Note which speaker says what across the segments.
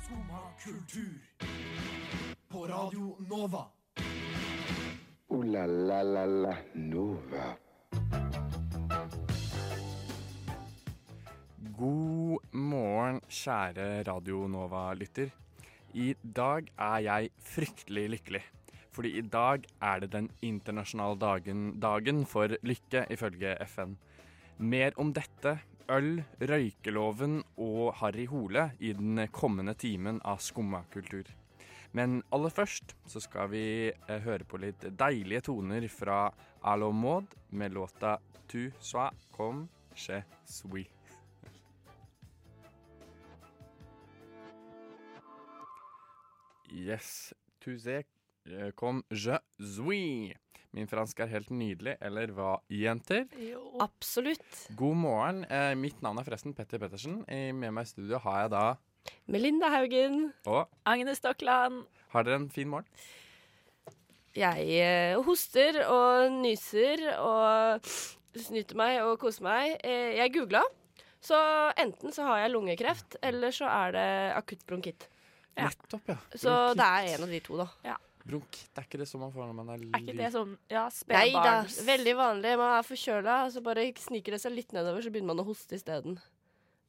Speaker 1: Skumma kultur. På Radio Nova.
Speaker 2: Ooh la la la la Nova.
Speaker 3: God morgen, kjære Radio Nova-lytter. I dag er jeg fryktelig lykkelig. Fordi i dag er det den internasjonale dagen, dagen for lykke, ifølge FN. Mer om dette, øl, røykeloven og Harry Hole i den kommende timen av Skumma kultur. Men aller først så skal vi eh, høre på litt deilige toner fra Alo Maud med låta Tu sois comme je suis. Yes. Tuzé kom je suis. Min fransk er helt nydelig, eller hva, jenter?
Speaker 4: Absolutt.
Speaker 3: God morgen. Eh, mitt navn er forresten Petter Pettersen. Eh, Med meg i studio har jeg da
Speaker 4: Melinda Haugen.
Speaker 3: Og
Speaker 5: Agnes Stokland.
Speaker 3: har dere en fin morgen?
Speaker 4: Jeg eh, hoster og nyser og snyter meg og koser meg. Eh, Jeg googla, så enten så har jeg lungekreft, eller så er det akutt bronkitt.
Speaker 5: Ja.
Speaker 3: Nettopp, ja.
Speaker 4: Så det er en av de to, da.
Speaker 3: Bronkitt er ikke det som man får når man er,
Speaker 5: Er ikke det sånn ja,
Speaker 4: Nei da,
Speaker 5: spedbarns...
Speaker 4: veldig vanlig. Man er forkjøla, og så bare sniker det seg litt nedover, så begynner man å hoste isteden.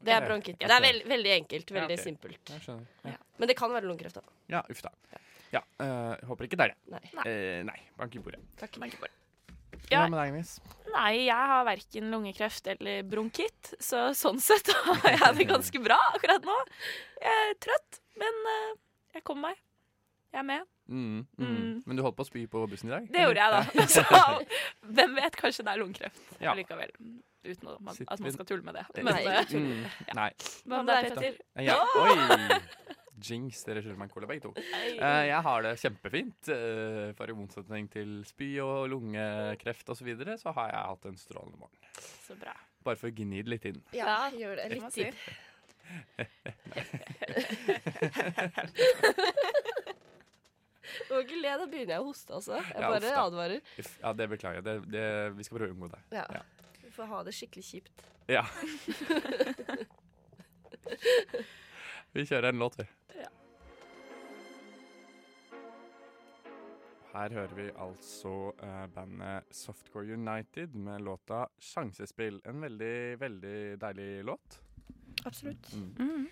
Speaker 4: Det er
Speaker 3: Ok.
Speaker 4: bronkitt.
Speaker 3: Ja.
Speaker 4: Det er veld, veldig enkelt.
Speaker 3: Ja,
Speaker 4: Veldig
Speaker 3: ok.
Speaker 4: simpelt.
Speaker 3: Jeg skjønner. Ja,
Speaker 4: Men det kan være lungekreft, da.
Speaker 3: ja uff da. Ja, eh, håper ikke det er det.
Speaker 4: Nei.
Speaker 3: Eh, nei. Bank i bordet.
Speaker 4: Takk.
Speaker 3: Hva
Speaker 5: Ja.
Speaker 3: med deg, Agnes?
Speaker 5: Nei, jeg har verken lungekreft eller bronkitt, så sånn sett har jeg det ganske bra akkurat nå. Jeg er trøtt, men eh, jeg kommer meg. Jeg er med.
Speaker 3: Mm, mm.
Speaker 5: Mm.
Speaker 3: Men du holdt på å spy på bussen i dag?
Speaker 5: Det gjorde jeg, da. Så hvem vet, kanskje det er lungekreft
Speaker 3: Ja.
Speaker 5: likevel. Uten å- man,
Speaker 3: Sitter
Speaker 5: at man
Speaker 3: vi-
Speaker 5: skal tulle med det.
Speaker 3: Det-
Speaker 5: Men eh,
Speaker 3: jeg. Mm, nei.
Speaker 5: hva med deg, Petter?
Speaker 3: Eh, Ja. Oi! Jinx, dere skylder meg en cola begge to. Eh, jeg har det kjempefint. eh, for i motsetning til spy og lungekreft osv., så, videre, så har jeg hatt en strålende morgen.
Speaker 5: Så bra.
Speaker 3: Bare for å gni det litt inn.
Speaker 4: Ja, gjør det.
Speaker 5: Det må
Speaker 4: Litt til.
Speaker 5: jeg si.
Speaker 4: Må ikke le, da begynner jeg å hoste, altså. Jeg
Speaker 3: Ja, uff
Speaker 4: bare
Speaker 3: da.
Speaker 4: advarer.
Speaker 3: Uff, Ja, det beklager jeg. Det, det, vi skal prøve å unngå det.
Speaker 4: Ja.
Speaker 3: Ja.
Speaker 4: Vi får ha det skikkelig kjipt.
Speaker 3: Ja. vi kjører en låt, vi.
Speaker 5: Ja.
Speaker 3: Her hører vi altså eh, bandet Softcore United med låta 'Sjansespill'. En veldig, veldig deilig låt.
Speaker 4: Absolutt.
Speaker 5: Mm.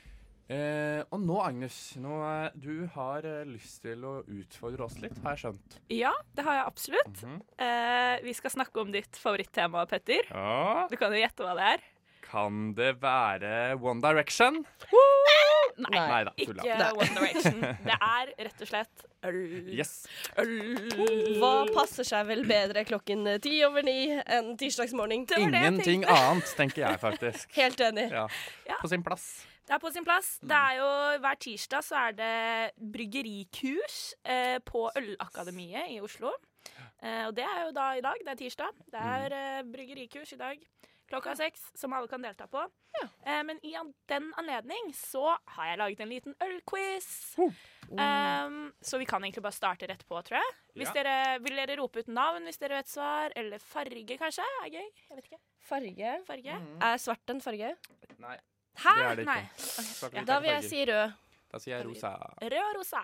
Speaker 3: Eh, og nå, Agnes, nå, eh, du har eh, lyst til å utfordre oss litt, har jeg skjønt.
Speaker 5: Ja, det har jeg absolutt.
Speaker 3: Mhm.
Speaker 5: Eh, vi skal snakke om ditt favorittema, Petter.
Speaker 3: Ja.
Speaker 5: Du kan jo gjette hva det er.
Speaker 3: Kan det være One Direction?
Speaker 4: Nei.
Speaker 3: Nei da,
Speaker 5: Ikke
Speaker 3: tulla.
Speaker 5: One Direction. Det er rett og slett øl.
Speaker 3: Yes.
Speaker 5: Øl.
Speaker 4: Hva passer seg vel bedre klokken ti over ni enn tirsdagsmorgen?
Speaker 5: Det var det jeg
Speaker 3: Ingenting
Speaker 5: tenkte.
Speaker 3: annet, tenker jeg faktisk.
Speaker 4: Helt enig.
Speaker 3: Ja.
Speaker 5: Ja.
Speaker 3: På sin plass.
Speaker 5: Det er på sin plass. Det
Speaker 3: Mm.
Speaker 5: er jo Hver tirsdag så er det bryggerikurs eh, på Ølakademiet i Oslo. Eh, og det er jo da i dag. Det er tirsdag.
Speaker 3: Mm.
Speaker 5: Det er eh, bryggerikurs i dag klokka seks, som alle kan delta på. Eh, men i an- den anledning så har jeg laget en liten ølquiz. Um, så vi kan egentlig bare starte rett på, tror jeg. Hvis
Speaker 3: Ja.
Speaker 5: dere, vil dere rope ut navn hvis dere vet svar? Eller farge, kanskje? Er gøy. Jeg vet ikke.
Speaker 4: Farge.
Speaker 5: Farge?
Speaker 4: Er svart en farge?
Speaker 3: Nei,
Speaker 5: Hæ?
Speaker 3: Mm. det er det
Speaker 5: Nei.
Speaker 3: ikke. Svart og hvit
Speaker 4: Ah, Da
Speaker 3: er
Speaker 4: vil
Speaker 3: farger.
Speaker 4: jeg si rød.
Speaker 3: Da sier jeg rosa.
Speaker 5: Rød og rosa.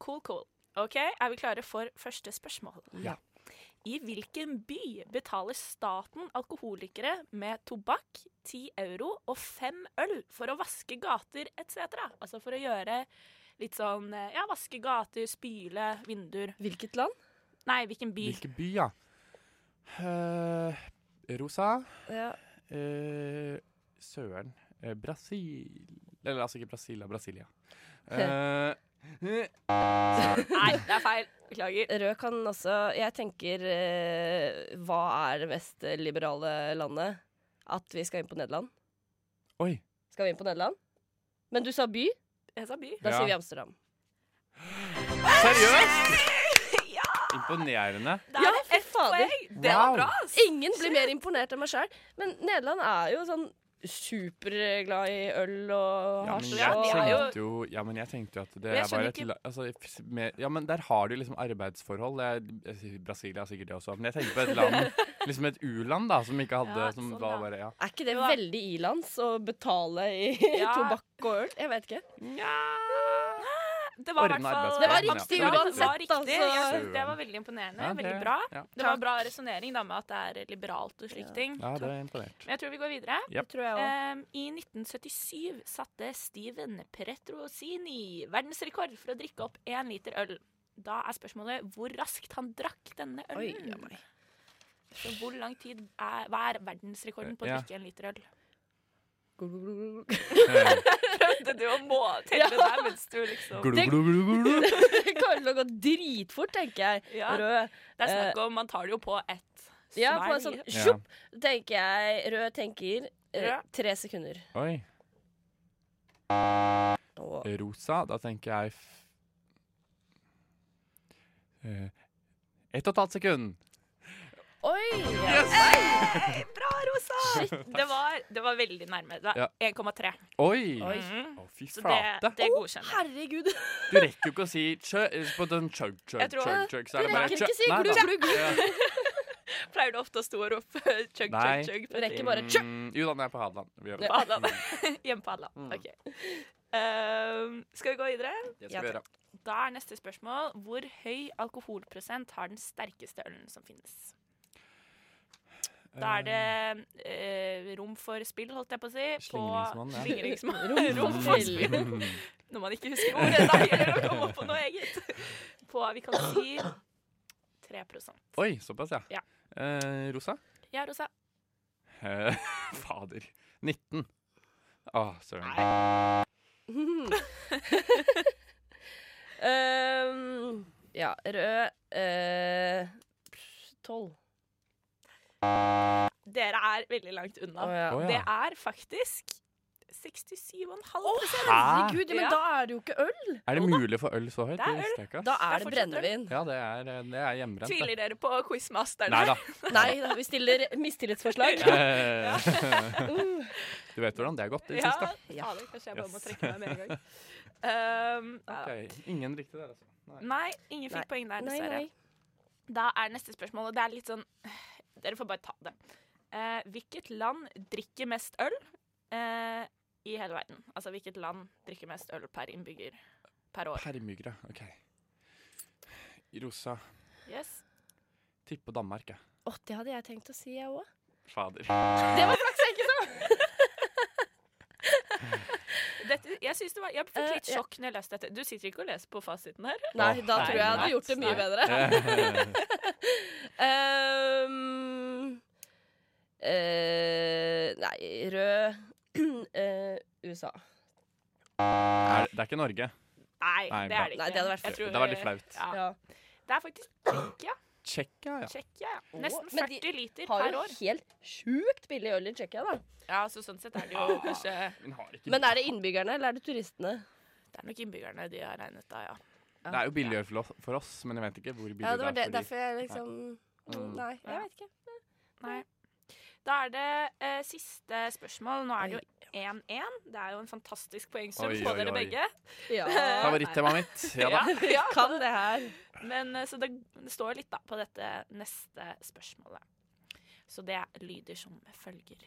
Speaker 5: Cool, cool. Ok, Er vi klare for første spørsmål?
Speaker 3: Ja.
Speaker 5: I hvilken by betaler staten alkoholikere med tobakk, 10 euro og 5 øl for å vaske gater etc.? Altså for å gjøre litt sånn eh, Ja, vaske gater, spyle, vinduer
Speaker 4: Hvilket land?
Speaker 5: Nei, hvilken by?
Speaker 3: Hvilken by, ja? Eh, rosa
Speaker 4: Ja.
Speaker 3: eh, Søren. Eh, Brasil Eller altså ikke Brasil, da. Brasilia. Eh,
Speaker 5: Nei, det er feil. Beklager.
Speaker 4: Rød kan også Jeg tenker eh, Hva er det mest liberale landet? At vi skal inn på Nederland?
Speaker 3: oi.
Speaker 4: Skal vi inn på Nederland? Men du sa by?
Speaker 5: Jeg sa by.
Speaker 4: Da
Speaker 3: Ja.
Speaker 4: sier vi Amsterdam.
Speaker 3: Seriøst?
Speaker 5: Ja!
Speaker 3: Imponerende.
Speaker 5: Da
Speaker 4: Ja,
Speaker 5: er
Speaker 4: fy
Speaker 5: det ett
Speaker 4: fader.
Speaker 5: poeng. Det var
Speaker 3: Wow.
Speaker 5: bra, ass.
Speaker 4: Ingen blir mer imponert enn meg sjøl. Men Nederland er jo sånn superglad i øl og
Speaker 3: Ja, men
Speaker 4: hasj.
Speaker 3: jeg
Speaker 4: og-
Speaker 5: de har jo-
Speaker 3: tenkte jo, ja, men jeg tenkte jo at det
Speaker 5: Jeg
Speaker 3: er bare
Speaker 5: skjønner
Speaker 3: et
Speaker 5: ikke-
Speaker 3: la- altså, f- mer, Ja, men der har du jo liksom arbeidsforhold. Det er, Brasilia er sikkert det også, men jeg tenker på et land Liksom et u-land, da, som ikke hadde
Speaker 5: Ja,
Speaker 3: Som
Speaker 5: sånn,
Speaker 3: var
Speaker 5: ja.
Speaker 3: bare Ja.
Speaker 4: Er ikke det
Speaker 5: Ja.
Speaker 4: veldig ilands å betale i
Speaker 5: Ja.
Speaker 4: tobakk og øl? Jeg vet ikke.
Speaker 5: Nja det var i
Speaker 3: Ordne
Speaker 5: hvert fall
Speaker 3: arbeidsplassen,
Speaker 4: Det var
Speaker 3: ja.
Speaker 4: riktig
Speaker 5: Det var
Speaker 4: uansett,
Speaker 5: riktig.
Speaker 4: altså.
Speaker 5: Jeg synes det var veldig imponerende.
Speaker 3: Ja,
Speaker 5: Veldig
Speaker 3: det-
Speaker 5: bra.
Speaker 3: ja.
Speaker 5: Det var bra resonnering med at det er liberalt og slike ting.
Speaker 3: Ja, det
Speaker 5: Men
Speaker 3: er imponert.
Speaker 5: jeg tror vi går videre.
Speaker 3: Jep.
Speaker 4: Det tror jeg også.
Speaker 5: Ehm, I 1977 satte Steven Petrosini verdensrekord for å drikke opp én liter øl. Da er spørsmålet hvor raskt han drakk denne
Speaker 4: Oi,
Speaker 5: ølen.
Speaker 4: ja, nei.
Speaker 5: Så hvor lang tid er, Hva er verdensrekorden på å
Speaker 3: Ja.
Speaker 5: drikke en liter øl?
Speaker 4: Glug, glug, glug, glug.
Speaker 5: Prøvde du å må- telle der mens du liksom
Speaker 3: Eh, Glu, glu, glu, glu, glu.
Speaker 4: Det kommer til å gå dritfort, tenker jeg.
Speaker 5: Ja.
Speaker 4: Rød.
Speaker 5: Det er snakk om Man tar det jo på ett
Speaker 4: Ja,
Speaker 5: svær
Speaker 4: på en sånn
Speaker 5: bit.
Speaker 3: Ja.
Speaker 4: sjopp, tenker jeg. Rød tenker eh,
Speaker 5: Rød.
Speaker 4: tre sekunder.
Speaker 3: Oi.
Speaker 4: Og
Speaker 3: Rosa, da tenker jeg f Eh, Ett og et halvt sekund.
Speaker 4: Oi!
Speaker 5: Hei, Bra, Rosa! Det var, det var veldig nærme. Det var
Speaker 3: Ja.
Speaker 5: 1,3.
Speaker 3: Oi! Å,
Speaker 4: Oi.
Speaker 3: fy
Speaker 5: Så det,
Speaker 3: flate.
Speaker 5: det godkjenner
Speaker 4: Herregud.
Speaker 3: Du rekker jo ikke å si chø på den chug, chug,
Speaker 5: Jeg tror-
Speaker 3: chug, chug, så er
Speaker 4: Du
Speaker 3: det bare
Speaker 4: rekker
Speaker 3: chug.
Speaker 4: ikke si
Speaker 3: Nei
Speaker 4: glu,
Speaker 3: da.
Speaker 4: glu, glu.
Speaker 3: Ja.
Speaker 5: jeg. Pleier du ofte å stå og rope chug,
Speaker 3: Nei.
Speaker 5: chug, chug?
Speaker 4: Du rekker bare eh, chug.
Speaker 3: Mm, Jo da, den er på Hadeland. Vi gjør det.
Speaker 5: På Hadeland. Hjemme på Hadeland.
Speaker 3: Mm.
Speaker 5: Ok. Ehm, skal vi gå videre?
Speaker 3: Det skal
Speaker 4: Ja,
Speaker 3: vi gjøre.
Speaker 5: Da er neste spørsmål hvor høy alkoholprosent har den sterkeste ølen som finnes? Da er det eh, rom for spill, holdt jeg på å si. På
Speaker 3: Slingringsmonn, ja.
Speaker 5: slingringsmonn.
Speaker 4: liksom. Rom
Speaker 3: Mm.
Speaker 5: Rom
Speaker 4: for
Speaker 5: for spill. Når man ikke husker ordet, da gjelder det å komme opp på noe eget. På, vi kan si 3
Speaker 3: Oi, såpass, ja.
Speaker 5: Ja.
Speaker 3: Eh, Rosa?
Speaker 5: Ja, Rosa.
Speaker 3: Eh, Fader. 19. Å, søren.
Speaker 4: Ehm, ja, rød eh, pff, Tolv.
Speaker 5: Dere er veldig langt unna.
Speaker 4: Å, ja.
Speaker 3: Å, ja.
Speaker 5: Det er faktisk 67,5
Speaker 3: Hæ?
Speaker 4: Herregud, men
Speaker 5: Ja.
Speaker 4: da er det jo ikke øl!
Speaker 3: Er det mulig for øl så høyt?
Speaker 5: Det er
Speaker 3: Det
Speaker 5: øl.
Speaker 3: visste jeg ikke, ass.
Speaker 4: Da
Speaker 5: Det er
Speaker 4: er det
Speaker 5: fortsatt øl.
Speaker 4: brennevin.
Speaker 3: Ja, det er, eh, det er hjemmebrent. det.
Speaker 5: Tviler dere på quizmasterne?
Speaker 3: Nei da.
Speaker 4: Nei, da, vi stiller mistillitsforslag.
Speaker 3: Eh,
Speaker 4: Uh,
Speaker 3: du vet hvordan det har gått i det
Speaker 5: Ja,
Speaker 3: siste.
Speaker 4: Ja.
Speaker 5: fader, kanskje jeg bare må
Speaker 3: Yes.
Speaker 5: trekke meg med en gang. Um, ja.
Speaker 3: Ok, Ingen riktig der, altså. Nei.
Speaker 5: Nei, ingen
Speaker 4: Nei.
Speaker 5: fikk poeng der,
Speaker 4: nei,
Speaker 5: dessverre.
Speaker 4: nei.
Speaker 5: Da er neste spørsmål, og det er litt sånn Dere får bare ta det. Eh, hvilket land drikker mest øl eh, i hele verden? Altså hvilket land drikker mest øl per innbygger per år?
Speaker 3: Permygre. OK. Rosa.
Speaker 5: Yes.
Speaker 3: Tippe Danmark, jeg.
Speaker 4: Å, det hadde jeg tenkt å si, jeg òg.
Speaker 3: Fader.
Speaker 4: Det var flaks jeg ikke sa!
Speaker 5: Dette, jeg, synes det var, jeg fikk
Speaker 4: Eh,
Speaker 5: litt
Speaker 4: ja.
Speaker 5: sjokk når jeg leste dette. Du sitter ikke og leser på fasiten her?
Speaker 4: Nei, da
Speaker 3: Å,
Speaker 4: tror jeg jeg hadde
Speaker 3: nei,
Speaker 4: gjort det mye
Speaker 3: nei.
Speaker 4: bedre.
Speaker 3: Eh,
Speaker 4: Ehm, eh, nei, rød eh, USA.
Speaker 3: er, det er ikke Norge.
Speaker 5: Nei,
Speaker 3: Nei, bra.
Speaker 5: det er det ikke.
Speaker 4: Nei, det hadde vært
Speaker 5: Jeg tror-
Speaker 3: Det var litt flaut.
Speaker 5: Ja.
Speaker 4: Ja.
Speaker 5: Det er faktisk Tsjekkia.
Speaker 3: Tsjekkia, ja.
Speaker 5: Tsjekkia, ja.
Speaker 4: Å,
Speaker 5: Nesten
Speaker 4: men de
Speaker 5: 40 liter
Speaker 4: Har
Speaker 5: per
Speaker 4: jo
Speaker 5: år.
Speaker 4: helt sjukt billig øl i Tsjekkia, da.
Speaker 5: Ja, så sånn sett er det jo kanskje
Speaker 3: Hun har ikke
Speaker 4: Men er det innbyggerne, eller er det turistene?
Speaker 5: Det er nok innbyggerne de har regnet da, ja.
Speaker 3: Det er jo billigere for oss- for oss, men jeg vet ikke hvor billig
Speaker 4: Ja, det var
Speaker 3: det
Speaker 4: det,
Speaker 3: er. for de.
Speaker 4: derfor jeg liksom
Speaker 3: Mm.
Speaker 4: Nei, jeg
Speaker 5: Ja.
Speaker 4: vet ikke.
Speaker 5: Da er det eh, siste spørsmål. Nå er det jo 1-1. Det er jo en fantastisk poengsum
Speaker 3: Oi,
Speaker 5: på
Speaker 3: oi,
Speaker 5: dere
Speaker 3: oi.
Speaker 5: begge.
Speaker 4: Ja.
Speaker 3: Favorittemaet mitt. Ja da.
Speaker 5: ja.
Speaker 4: Kan det her.
Speaker 5: Men eh, så det står litt da på dette neste spørsmålet. Så det lyder som følger.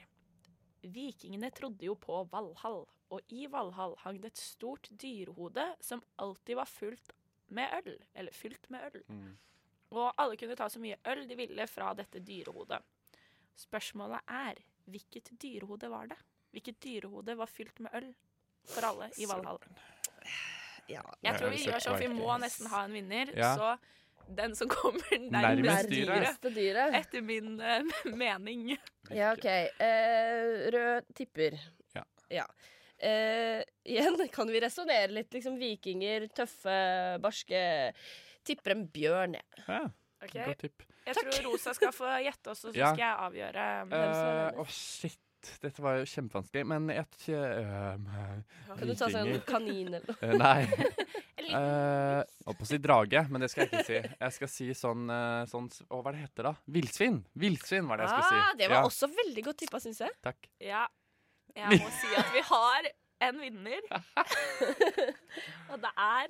Speaker 5: Vikingene trodde jo på Valhall, og i Valhall hang det et stort dyrehode som alltid var fullt med øl. Eller fylt med øl.
Speaker 3: Mm.
Speaker 5: Og alle kunne ta så mye øl de ville fra dette dyrehodet. Spørsmålet er hvilket dyrehode var det? Hvilket dyrehode var fylt med øl for alle i Valhall?
Speaker 4: Ja.
Speaker 5: Jeg tror vi
Speaker 3: Jeg
Speaker 5: gjør sånn,
Speaker 3: søker
Speaker 5: vi
Speaker 3: meg.
Speaker 5: må nesten ha en vinner.
Speaker 3: Ja.
Speaker 5: Så den som kommer
Speaker 3: Nærmest dyret.
Speaker 5: nærmest dyret,
Speaker 4: Nærmeste dyret.
Speaker 5: etter min eh, mening
Speaker 4: Ja, OK. Eh, rød tipper.
Speaker 3: Ja.
Speaker 4: Eh, igjen kan vi resonnere litt. Liksom vikinger, tøffe, barske. Tipper en bjørn, jeg.
Speaker 3: Ja,
Speaker 5: Ok,
Speaker 3: Godt tipp.
Speaker 5: Jeg tror Rosa skal få gjette oss, og så
Speaker 3: Ja. Eh,
Speaker 5: skal jeg avgjøre. eh,
Speaker 3: Å,
Speaker 5: hvem som er nærmest.
Speaker 3: shit. Dette var jo kjempevanskelig, men jeg t- øhm, øh,
Speaker 4: Kan du ta sånn
Speaker 3: Vikinger.
Speaker 4: kanin eller noe?
Speaker 3: Eh, Nei. Eh,
Speaker 5: En
Speaker 3: Jeg holdt på å si drage, men det skal jeg ikke si. Jeg skal si sånn, eh, sånn s- Å, hva er det heter da? Villsvin! Villsvin var det jeg skulle
Speaker 4: Ah,
Speaker 3: si.
Speaker 4: det var
Speaker 3: ja,
Speaker 4: også veldig godt tippa, syns jeg.
Speaker 3: Takk.
Speaker 5: Ja. Jeg må si at vi har en vinner. og det er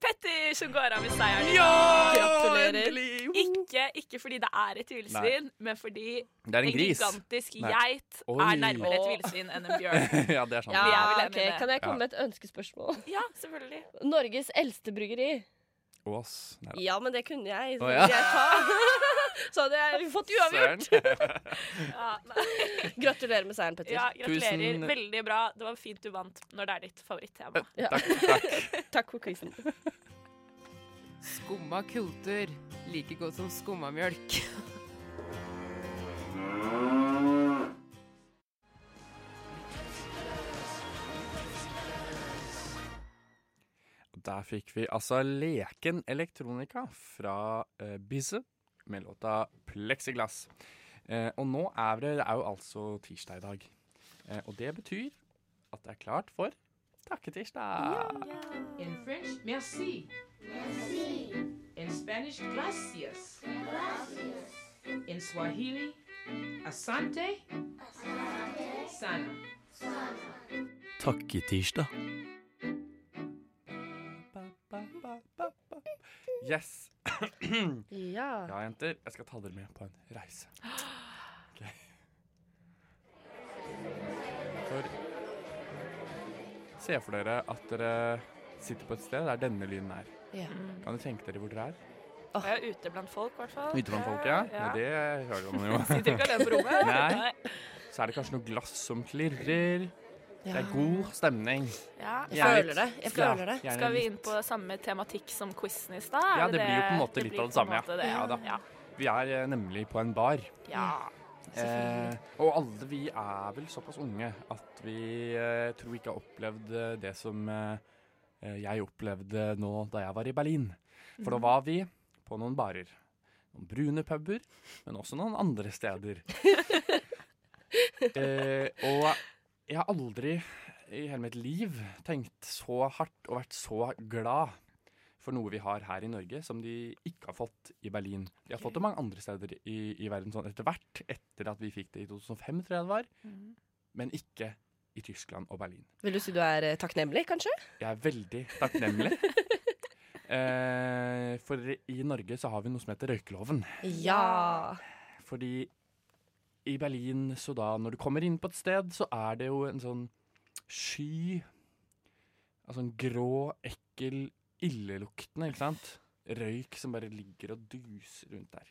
Speaker 5: Petter som går av med seieren.
Speaker 3: Ja!
Speaker 4: Gratulerer.
Speaker 3: Endelig!
Speaker 5: Ikke, ikke fordi det er et villsvin, men fordi
Speaker 3: Det er en gris.
Speaker 5: gigantisk
Speaker 3: Nei.
Speaker 5: geit
Speaker 3: Oi.
Speaker 5: er nærmere et
Speaker 4: Åh.
Speaker 5: villsvin enn en bjørn.
Speaker 3: ja, det er sant.
Speaker 5: Vi er
Speaker 4: Ja,
Speaker 5: vel
Speaker 4: ok,
Speaker 5: enige i det.
Speaker 4: Kan jeg komme
Speaker 3: Ja.
Speaker 4: med et ønskespørsmål?
Speaker 5: Ja, selvfølgelig.
Speaker 4: Norges eldste bryggeri.
Speaker 3: Ås. Nei, da.
Speaker 4: Ja, men det kunne jeg. Så,
Speaker 3: Å, ja.
Speaker 4: ville jeg ta. så hadde jeg fått uavgjort.
Speaker 3: Søren.
Speaker 5: Ja, nei.
Speaker 4: Gratulerer med seieren, Petter.
Speaker 5: ja, gratulerer.
Speaker 3: Tusen- Eh,
Speaker 5: Veldig bra. Det var fint du vant når det er ditt favorittema.
Speaker 4: Ja.
Speaker 3: Takk, takk.
Speaker 4: Takk for quizen.
Speaker 6: Skumma kultur. Like godt som skumma mjølk.
Speaker 3: Der fikk vi altså Leken Elektronika fra eh, Bizze med låta Plexiglass. Eh, og nå er det, det er jo altså tirsdag i dag. Eh, og det betyr at det er klart for Takketirsdag.
Speaker 6: In French, merci. In Spanish, gracias. In Swahili, asante. Sana.
Speaker 7: Takketirsdag.
Speaker 3: Yes.
Speaker 4: Ja.
Speaker 3: Ja, jenter. Jeg skal ta dere med på en reise. Ok. For Se for dere at dere sitter på et sted der denne lyden er.
Speaker 4: Ja.
Speaker 3: Kan dere tenke dere hvor dere er?
Speaker 5: Jeg er ute blant folk, i hvert fall.
Speaker 3: Ute blant folk, ja.
Speaker 5: Ja.
Speaker 3: Nei, det hører man jo.
Speaker 5: Sitter ikke alene på rommet.
Speaker 3: Nei. Så er det kanskje noe glass som klirrer. Det er god stemning.
Speaker 5: Ja.
Speaker 4: Jeg
Speaker 3: Gjerne
Speaker 4: føler
Speaker 3: litt-
Speaker 4: det. Jeg føler det.
Speaker 3: gjerne
Speaker 5: Skal vi
Speaker 3: litt-
Speaker 5: inn på samme tematikk som quizen i stad? Er
Speaker 3: Ja, det blir jo på en måte
Speaker 5: det
Speaker 3: litt
Speaker 5: blir
Speaker 3: av det
Speaker 5: på en
Speaker 3: samme, ja.
Speaker 5: måte det,
Speaker 3: Ja da.
Speaker 5: Ja.
Speaker 3: Vi er eh, nemlig på en bar.
Speaker 5: Ja.
Speaker 3: Eh, og alle vi er vel såpass unge at vi eh, tror ikke har opplevd eh, det som eh, eh, jeg opplevde nå da jeg var i Berlin. For da var vi på noen barer. Noen brune puber, men også noen andre steder. eh, og jeg har aldri i hele mitt liv tenkt så hardt og vært så glad for noe vi har her i Norge som de ikke har fått i Berlin. De har fått det mange andre steder i, i verden sånn etter hvert, etter at vi fikk det i 2005, tror jeg det var. Men ikke i Tyskland og Berlin.
Speaker 4: Vil du si du er eh, takknemlig, kanskje?
Speaker 3: Jeg er veldig takknemlig. eh, for i Norge så har vi noe som heter røykeloven.
Speaker 4: Ja.
Speaker 3: Fordi i Berlin, så da når du kommer inn på et sted, så er det jo en sånn sky Altså en grå, ekkel, illeluktende, ikke sant? Røyk som bare ligger og duser rundt der.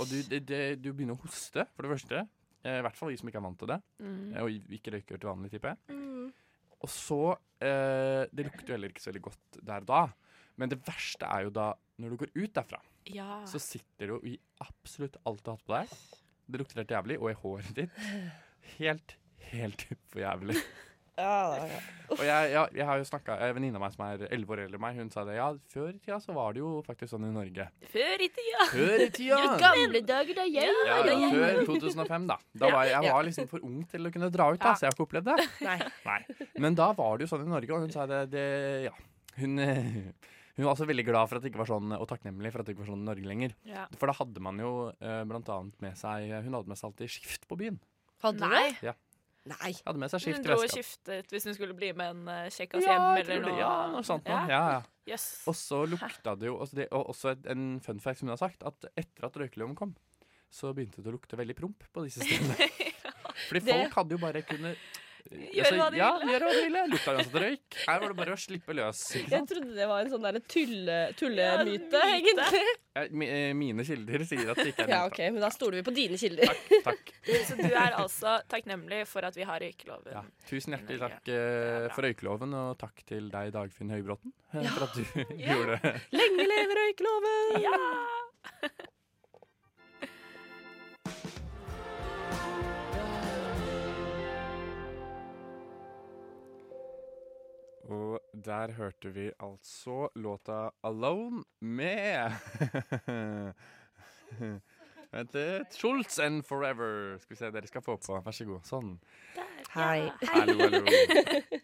Speaker 3: Og du, det, det, du begynner å hoste, for det første. Eh, I hvert fall vi som ikke er vant til det. Eh, Og ikke røyker til vanlig, tipper jeg. Og så eh, Det lukter jo heller ikke så veldig godt der og da. Men det verste er jo da når du går ut derfra,
Speaker 5: ja.
Speaker 3: så sitter det jo i absolutt alt du har hatt på deg. Det lukter helt jævlig, og i håret ditt. Helt, helt for jævlig. Og jeg, jeg, jeg har jo snakka En venninne av meg som er elleve år eldre enn meg, hun sa det. Ja, før i tida så var det jo faktisk sånn i Norge.
Speaker 5: Før i tida.
Speaker 3: Før i tida!
Speaker 4: Gamle dager da jeg
Speaker 3: Ja, da, før 2005, da. Da var jeg, jeg var liksom for ung til å kunne dra ut, da, så jeg har ikke opplevd det.
Speaker 4: Nei.
Speaker 3: Nei. Men da var det jo sånn i Norge, og hun sa det, det Ja. Hun, eh, hun var også veldig glad for at det ikke var sånn, og takknemlig for at det ikke var sånn i Norge lenger.
Speaker 5: Ja.
Speaker 3: For da hadde man jo eh, blant annet med seg Hun hadde med seg alltid skift på byen.
Speaker 4: Hadde du det?
Speaker 5: Nei.
Speaker 4: Nei.
Speaker 3: Hadde med seg
Speaker 5: Hun
Speaker 3: skift i
Speaker 5: dro og
Speaker 3: veska.
Speaker 5: skiftet hvis hun skulle bli med en eh, kjekkas
Speaker 3: Ja,
Speaker 5: hjem
Speaker 3: jeg
Speaker 5: eller
Speaker 3: tror det.
Speaker 5: noe.
Speaker 3: ja, noe sånt noe.
Speaker 5: Ja.
Speaker 3: Ja, ja.
Speaker 5: Yes.
Speaker 3: Og så lukta det jo også det, Og også et- en fun fact som hun har sagt, at etter at røykeloven kom, så begynte det å lukte veldig promp på disse stedene. Fordi
Speaker 4: Det-
Speaker 3: folk hadde jo bare kunnet
Speaker 5: Gjøre hva de
Speaker 3: ja,
Speaker 5: ville.
Speaker 3: Gjøre hva de ville. Lukta uansett røyk. Her var det bare å slippe løs. ikke
Speaker 4: Jeg
Speaker 3: sant?
Speaker 4: trodde det var en sånn derre tulle, tullemyte,
Speaker 5: Ja, myte.
Speaker 4: egentlig.
Speaker 3: Jeg- mi- eh, Mine kilder sier at det ikke er
Speaker 4: Ja,
Speaker 3: lukta.
Speaker 4: OK, men da stoler vi på dine kilder.
Speaker 3: Takk.
Speaker 5: Så du er altså takknemlig for at vi har røykeloven.
Speaker 3: Ja. Tusen hjertelig takk eh, for røykeloven, og takk til deg, Dagfinn Høybråten, eh, for at du gjorde det.
Speaker 4: Lenge leve røykeloven!
Speaker 5: Ja.
Speaker 3: Og der hørte vi altså låta 'Alone' med Vent litt. Schultz and Forever. Skal vi se, dere skal få på. Vær så god. Sånn.
Speaker 4: Hei.
Speaker 3: Hallo, hallo.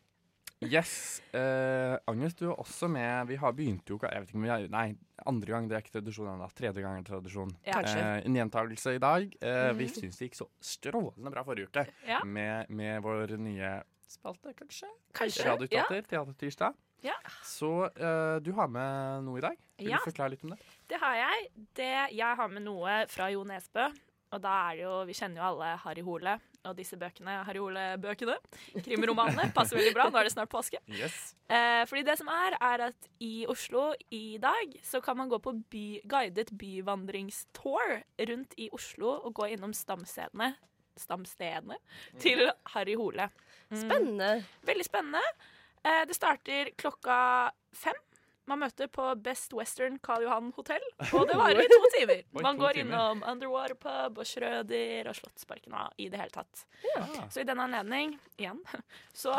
Speaker 3: Yes. Eh, Agnes, du er også med. Vi har begynte jo ikke Jeg vet ikke om vi har Nei, andre gang. Det er ikke tradisjon ennå. Tredje gang er tradisjon.
Speaker 5: Ja. Mhm.
Speaker 3: Eh, en gjentagelse i dag. Eh, Vi syns det gikk så strålende bra forrige uke
Speaker 5: Ja.
Speaker 3: med, med vår nye spalte, kanskje?
Speaker 5: Kanskje. Ja.
Speaker 3: Radioteater, Teatertirsdag.
Speaker 5: Ja.
Speaker 3: Så eh, du har med noe i dag. Vil
Speaker 5: Ja.
Speaker 3: du forklare litt om det?
Speaker 5: Det har jeg. Det, jeg har med noe fra Jo Nesbø. Og da er det jo, vi kjenner jo alle Harry Hole og disse bøkene. Harry Hole-bøkene. Krimromanene passer veldig bra. Nå er det snart påske.
Speaker 3: Yes.
Speaker 5: Eh, fordi det som er, er at i Oslo i dag så kan man gå på by, guidet byvandringstour rundt i Oslo og gå innom stamstedene, stamstedene til Harry Hole.
Speaker 4: Spennende.
Speaker 5: Veldig spennende. Eh, det starter klokka fem. Man møter på Best Western Karl Johan hotell, og det varer i to timer.
Speaker 3: Oi,
Speaker 5: Man
Speaker 3: to
Speaker 5: går
Speaker 3: timer.
Speaker 5: innom Underwater Pub og Schrøder og Slottsparken og i det hele tatt.
Speaker 3: Ah.
Speaker 5: Så i den anledning, igjen, så,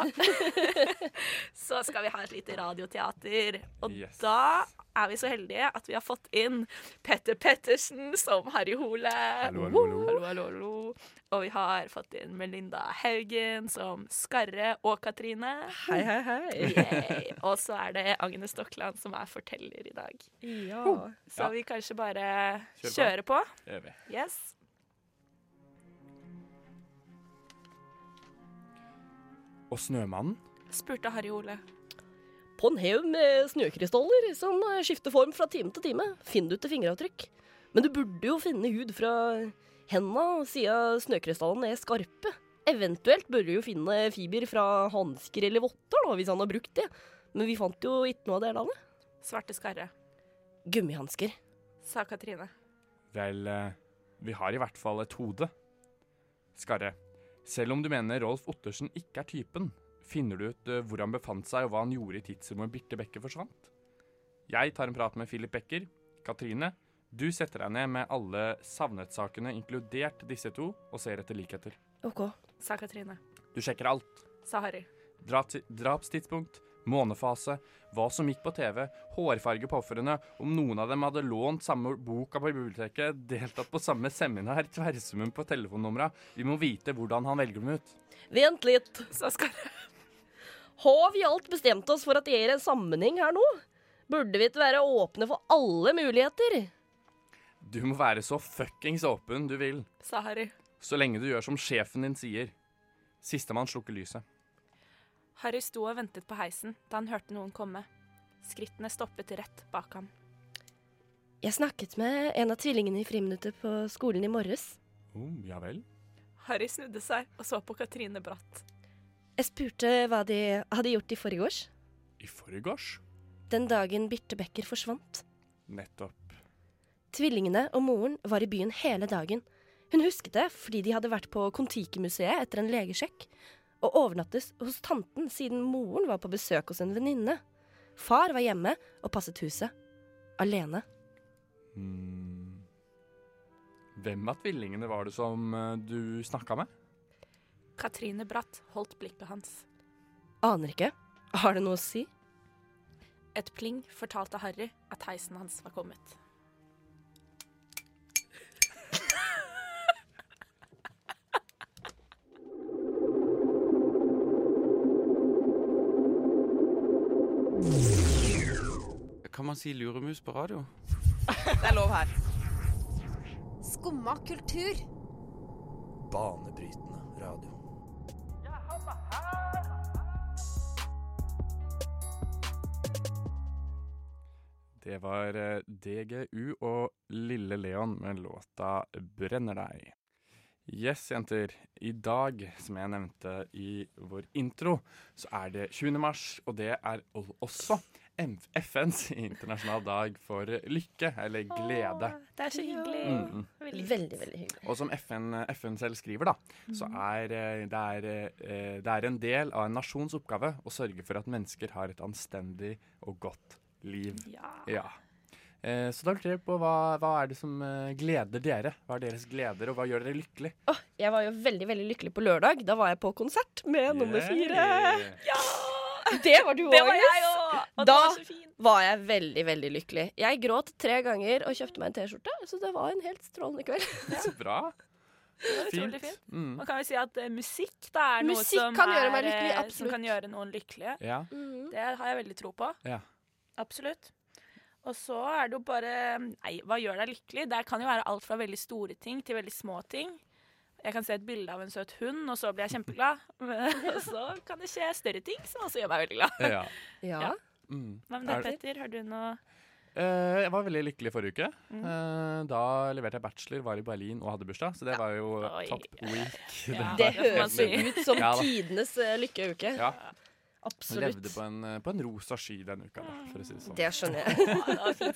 Speaker 5: så skal vi ha et lite radioteater. Og
Speaker 3: Yes.
Speaker 5: da er vi så heldige at vi har fått inn Petter Pettersen som Harry Hole.
Speaker 3: Hallo, hallo, hallo.
Speaker 5: Hallo, hallo, hallo. Og vi har fått inn Melinda Haugen som Skarre og Katrine.
Speaker 7: Hei, hei, hei.
Speaker 5: Yay. Og så er det Agnes Stokland som er forteller i dag.
Speaker 7: Ja.
Speaker 5: Så
Speaker 3: Ja.
Speaker 5: vi kanskje bare
Speaker 3: Kjør
Speaker 5: kjører på.
Speaker 3: Det gjør vi.
Speaker 5: Yes.
Speaker 3: Og Snømannen?
Speaker 5: Spurte Harry Ole.
Speaker 4: På en haug med snøkrystaller som skifter form fra time til time, finner du ikke fingeravtrykk. Men du burde jo finne hud fra henda, siden snøkrystallene er skarpe. Eventuelt bør du jo finne fiber fra hansker eller votter, da, hvis han har brukt det. Men vi fant jo ikke noe av det landet.
Speaker 5: Svarte skarre,
Speaker 4: Gummihansker.
Speaker 5: sa Katrine.
Speaker 3: Vel, eh, vi har i hvert fall et hode. Skarre, selv om du mener Rolf Ottersen ikke er typen, finner du ut eh, hvor han befant seg og hva han gjorde i tidsrommet Birte Bekker forsvant? Jeg tar en prat med Philip Bekker. Katrine, du setter deg ned med alle savnetsakene, inkludert disse to, og ser etter likheter.
Speaker 4: OK.
Speaker 5: Sa Katrine.
Speaker 3: Du sjekker alt.
Speaker 5: Sa Harry.
Speaker 3: Drap, drapstidspunkt, månefase, hva som gikk på TV, hårfarge på ofrene, om noen av dem hadde lånt samme boka på biblioteket, deltatt på samme seminar, tverrsummen på telefonnumra. Vi må vite hvordan han velger dem ut.
Speaker 4: Vent litt.
Speaker 5: Sa Skarre.
Speaker 4: Har vi alt bestemt oss for at det er en sammenheng her nå? Burde vi ikke være åpne for alle muligheter?
Speaker 3: Du må være så fuckings åpen du vil,
Speaker 5: Sa Harry.
Speaker 3: så lenge du gjør som sjefen din sier. Sistemann slukker lyset.
Speaker 5: Harry sto og ventet på heisen da han hørte noen komme. Skrittene stoppet rett bak ham.
Speaker 4: Jeg snakket med en av tvillingene i friminuttet på skolen i morges.
Speaker 3: Oh, ja vel.
Speaker 5: Harry snudde seg og så på Katrine Bratt.
Speaker 4: Jeg spurte hva de hadde gjort i forgårs.
Speaker 3: I forgårs?
Speaker 4: Den dagen Birte Becker forsvant.
Speaker 3: Nettopp.
Speaker 4: Tvillingene og moren var i byen hele dagen. Hun husket det fordi de hadde vært på Kon-Tiki-museet etter en legesjekk, og overnattes hos tanten siden moren var på besøk hos en venninne. Far var hjemme og passet huset. Alene.
Speaker 3: Hmm. Hvem av tvillingene var det som eh, du snakka med?
Speaker 5: Katrine Bratt holdt blikket hans.
Speaker 4: Aner ikke. Har det noe å si?
Speaker 5: Et pling fortalte Harry at heisen hans var kommet.
Speaker 8: Kan man si luremus på radio?
Speaker 7: Det er lov her.
Speaker 9: Skumma kultur.
Speaker 1: Banebrytende radio.
Speaker 3: Det var eh, DGU og Lille Leon med låta 'Brenner deg'. Yes, jenter. I dag, som jeg nevnte i vår intro, så er det 20. mars, og det er o- også M- FNs internasjonal dag for lykke, eller glede.
Speaker 5: Åh, Det er så hyggelig.
Speaker 3: Mm.
Speaker 5: Veldig.
Speaker 4: Veldig, veldig hyggelig.
Speaker 3: Og som FN, FN selv skriver, da, så
Speaker 5: Mm.
Speaker 3: er eh, det, er eh, det er en del av en nasjons oppgave å sørge for at mennesker har et anstendig og godt liv.
Speaker 5: Ja.
Speaker 3: Ja. Eh, så da lurer jeg på hva, hva er det som eh, gleder dere? Hva er deres gleder, og hva gjør dere lykkelig?
Speaker 4: Åh, jeg var jo veldig veldig lykkelig på lørdag. Da var jeg på konsert med nummer fire.
Speaker 5: ja!
Speaker 4: Det var du
Speaker 5: Det
Speaker 4: òg,
Speaker 5: var jeg òg! Og det
Speaker 4: Da-
Speaker 5: var så fint.
Speaker 4: Var jeg veldig, veldig lykkelig. Jeg gråt tre ganger og kjøpte meg en T-skjorte, så det var en helt strålende kveld.
Speaker 3: Så bra.
Speaker 5: Det var utrolig fint.
Speaker 3: Mm.
Speaker 5: Man kan jo si at eh, musikk da er noe
Speaker 4: Musikk
Speaker 5: som,
Speaker 4: kan gjøre
Speaker 5: er,
Speaker 4: meg lykkelig,
Speaker 5: eh,
Speaker 4: absolutt.
Speaker 5: som kan gjøre noen lykkelige.
Speaker 3: Ja.
Speaker 5: Det har jeg veldig tro på.
Speaker 3: Ja.
Speaker 5: Mm. Absolutt. Og så er det jo bare Nei, hva gjør deg lykkelig? Det kan jo være alt fra veldig store ting til veldig små ting. Jeg kan se et bilde av en søt hund, og så blir jeg kjempeglad. Og så kan det skje større ting som også gjør meg veldig glad.
Speaker 3: Ja.
Speaker 5: Ja.
Speaker 4: Ja.
Speaker 3: Mm.
Speaker 5: Hva med deg,
Speaker 3: Er det-
Speaker 5: Petter? Har du noe
Speaker 3: Eh, jeg var veldig lykkelig forrige uke. Eh, da leverte jeg bachelor, var i Berlin og hadde bursdag, så det var jo
Speaker 5: Oi.
Speaker 3: topp week.
Speaker 5: Ja.
Speaker 3: var
Speaker 4: Det
Speaker 3: helt
Speaker 4: høres jo
Speaker 3: nydelig.
Speaker 4: ut som
Speaker 3: Ja da.
Speaker 4: tidenes eh, lykkeuke.
Speaker 3: Ja, jeg
Speaker 4: Absolutt.
Speaker 3: levde på en, eh, på en rosa sky denne uka, da, for å si det sånn.
Speaker 4: Det skjønner jeg.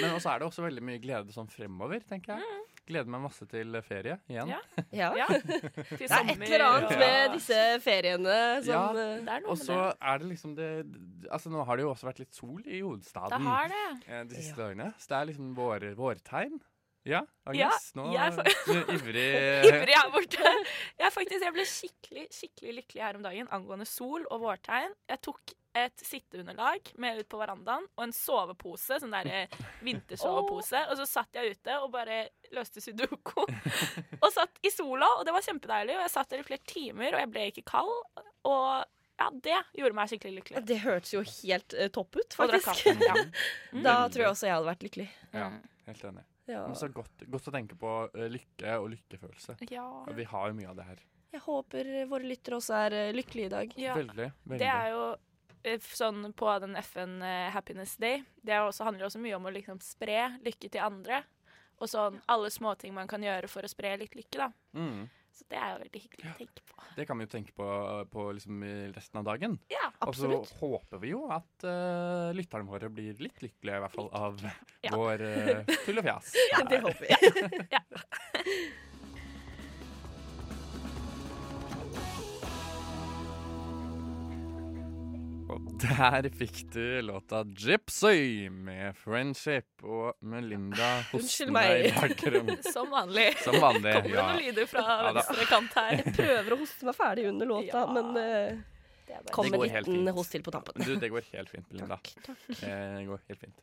Speaker 3: Men også er det også veldig mye glede sånn fremover, tenker jeg. Gleder meg masse til ferie igjen.
Speaker 5: Ja.
Speaker 4: Ja.
Speaker 5: Ja.
Speaker 4: Det er et eller annet med disse feriene som
Speaker 3: Ja.
Speaker 4: eh,
Speaker 5: Det er noe
Speaker 3: Og så
Speaker 5: med det.
Speaker 3: er det liksom det Altså Nå har det jo også vært litt sol i
Speaker 5: Det
Speaker 3: hovedstaden
Speaker 5: har det.
Speaker 3: eh, de siste dagene. Så det er liksom vår, vårtegn. Ja,
Speaker 5: Ja,
Speaker 3: Agnes? nå
Speaker 5: jeg er for-
Speaker 3: du er ivrig.
Speaker 5: Ivrig her borte. Jeg, faktisk, jeg ble skikkelig, skikkelig lykkelig her om dagen angående sol og vårtegn. Jeg tok et sitteunderlag med ut på verandaen og en sovepose, sånn der eh, vintersovepose. Og så satt jeg ute og bare løste sudoku. Og satt i sola, og det var kjempedeilig. Og jeg satt der i flere timer, og jeg ble ikke kald. Og ja, det gjorde meg skikkelig lykkelig.
Speaker 4: eh, Det hørtes jo helt eh, topp ut,
Speaker 5: Og drakk
Speaker 4: faktisk.
Speaker 5: kaffe. Ja.
Speaker 4: Da tror jeg også jeg hadde vært lykkelig.
Speaker 3: Ja, helt enig.
Speaker 4: Ja.
Speaker 3: Men så godt, godt å tenke på eh, lykke og lykkefølelse.
Speaker 5: Ja.
Speaker 3: Ja, Vi har jo mye av det her.
Speaker 4: Jeg håper våre lyttere også er eh, lykkelige i dag.
Speaker 5: ja.
Speaker 3: Veldig. veldig.
Speaker 5: Det er jo eh, f- sånn på den FN eh, Happiness Day. Det er jo også, handler også mye om å liksom spre lykke til andre. Og sånn alle småting man kan gjøre for å spre litt lykke, da.
Speaker 3: mm.
Speaker 5: Så det er jo veldig hyggelig å tenke på.
Speaker 3: det kan vi jo tenke på, på liksom i resten av dagen.
Speaker 5: Ja,
Speaker 3: Og så håper vi jo at eh, lytterne våre blir litt lykkelige, i hvert fall av
Speaker 5: Ja.
Speaker 3: vår uh, tull og fjas.
Speaker 4: Det håper vi.
Speaker 3: Og der fikk du låta 'Gypsy' med 'Friendship' og Melinda
Speaker 4: Unnskyld
Speaker 3: hosten deg
Speaker 4: meg.
Speaker 3: i bakgrunnen.
Speaker 5: Som vanlig.
Speaker 3: Som vanlig.
Speaker 5: Kommer det
Speaker 3: Ja.
Speaker 5: noen lyder fra
Speaker 3: Ja da.
Speaker 5: venstre kant her?
Speaker 4: Prøver å hoste meg ferdig under låta,
Speaker 5: Ja.
Speaker 4: men eh,
Speaker 5: Det er bare-
Speaker 4: kom
Speaker 3: går
Speaker 4: en
Speaker 3: helt
Speaker 4: liten
Speaker 3: fint.
Speaker 4: host til på
Speaker 3: Men
Speaker 4: tampen.
Speaker 3: Du, det går helt fint, Melinda.
Speaker 4: Takk.
Speaker 3: Eh, det går helt fint.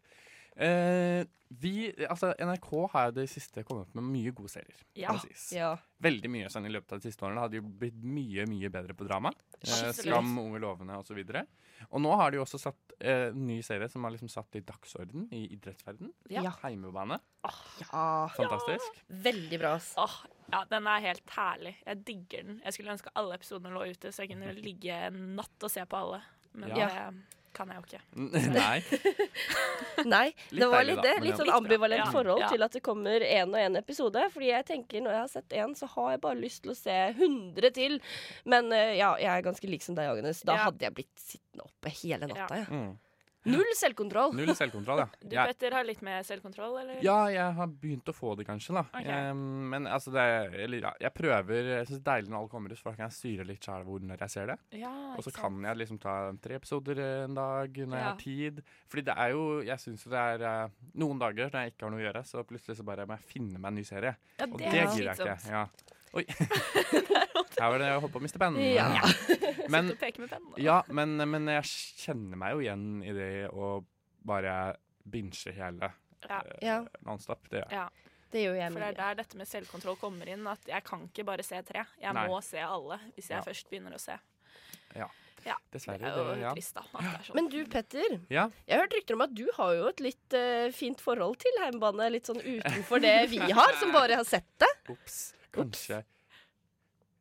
Speaker 3: Eh, vi, altså, NRK har jo det siste kommet opp med mye gode serier.
Speaker 5: Ja.
Speaker 3: kan sies.
Speaker 4: Ja.
Speaker 3: Veldig mye sånn i løpet av de siste årene. Det hadde jo blitt mye mye bedre på drama. Eh,
Speaker 5: Absolutt.
Speaker 3: Skam, Unge lovende osv. Og, så og nå har de jo også satt eh, en ny serie som har liksom satt i dagsorden i idrettsverden.
Speaker 4: Ja.
Speaker 3: Heimebane.
Speaker 4: ja.
Speaker 3: Fantastisk.
Speaker 4: Veldig bra, ass.
Speaker 5: Åh, ja, den er helt herlig. Jeg digger den. Jeg skulle ønske alle episodene lå ute, så jeg kunne ligge en natt og se på alle. Men
Speaker 4: Ja.
Speaker 5: det kan jeg jo ikke.
Speaker 3: Nei.
Speaker 4: Nei,
Speaker 3: Litt
Speaker 4: det var
Speaker 3: deilig
Speaker 4: litt
Speaker 3: da,
Speaker 4: det.
Speaker 3: men
Speaker 4: Litt
Speaker 3: ja.
Speaker 4: sånn ambivalent
Speaker 5: Ja.
Speaker 4: forhold
Speaker 5: Ja.
Speaker 4: til at det kommer én og én episode. Fordi jeg tenker når jeg har sett én, så har jeg bare lyst til å se 100 til. Men eh, ja, jeg er ganske lik som deg, Agnes. Da
Speaker 5: Ja.
Speaker 4: hadde jeg blitt sittende oppe hele natta. Ja.
Speaker 3: Mm.
Speaker 4: Null selvkontroll.
Speaker 3: Null selvkontroll, ja.
Speaker 5: Du,
Speaker 3: Jeg-
Speaker 5: Petter, har litt mer selvkontroll, eller?
Speaker 3: Ja, jeg har begynt å få det, kanskje. da
Speaker 5: Ok.
Speaker 3: Em, Men altså, det er, eller, ja, jeg prøver Jeg syns det er deilig når alt kommer ut, for da kan jeg styre litt sjæl hvor når jeg ser det.
Speaker 5: Ja,
Speaker 3: Og så
Speaker 5: ikke sant.
Speaker 3: kan jeg liksom ta tre episoder en dag når jeg
Speaker 5: Ja.
Speaker 3: har tid. Fordi det er jo Jeg syns jo det er eh, noen dager når jeg ikke har noe å gjøre, så plutselig så bare må jeg finne meg en ny serie.
Speaker 5: Ja,
Speaker 3: Og
Speaker 5: det
Speaker 3: det,
Speaker 5: er
Speaker 3: gidder jeg ikke.
Speaker 5: slitsomt.
Speaker 3: Ja. Oi. Her var det jeg holdt på å miste pennen.
Speaker 4: Ja.
Speaker 3: Men,
Speaker 5: Du peker med pennen. da.
Speaker 3: ja, men, men jeg kjenner meg jo igjen i det å bare binge hele
Speaker 5: Ja.
Speaker 4: Ja,
Speaker 3: eh, nonstop. Det gjør jeg.
Speaker 5: Ja,
Speaker 4: det gjør jeg
Speaker 5: for det er
Speaker 4: mye.
Speaker 5: der dette med selvkontroll kommer inn. At jeg kan ikke bare se tre. Jeg
Speaker 3: Nei.
Speaker 5: må se alle hvis jeg
Speaker 3: Ja.
Speaker 5: først begynner å se. Det
Speaker 3: Dessverre.
Speaker 5: er jo
Speaker 3: det- ja.
Speaker 5: trist, da. At det er sånn.
Speaker 4: Men du, Petter.
Speaker 3: Ja.
Speaker 4: Jeg har hørt rykter om at du har jo et litt eh, fint forhold til hjemmebane. Litt sånn utenfor det vi har, som bare har sett det.
Speaker 3: Ops. Kanskje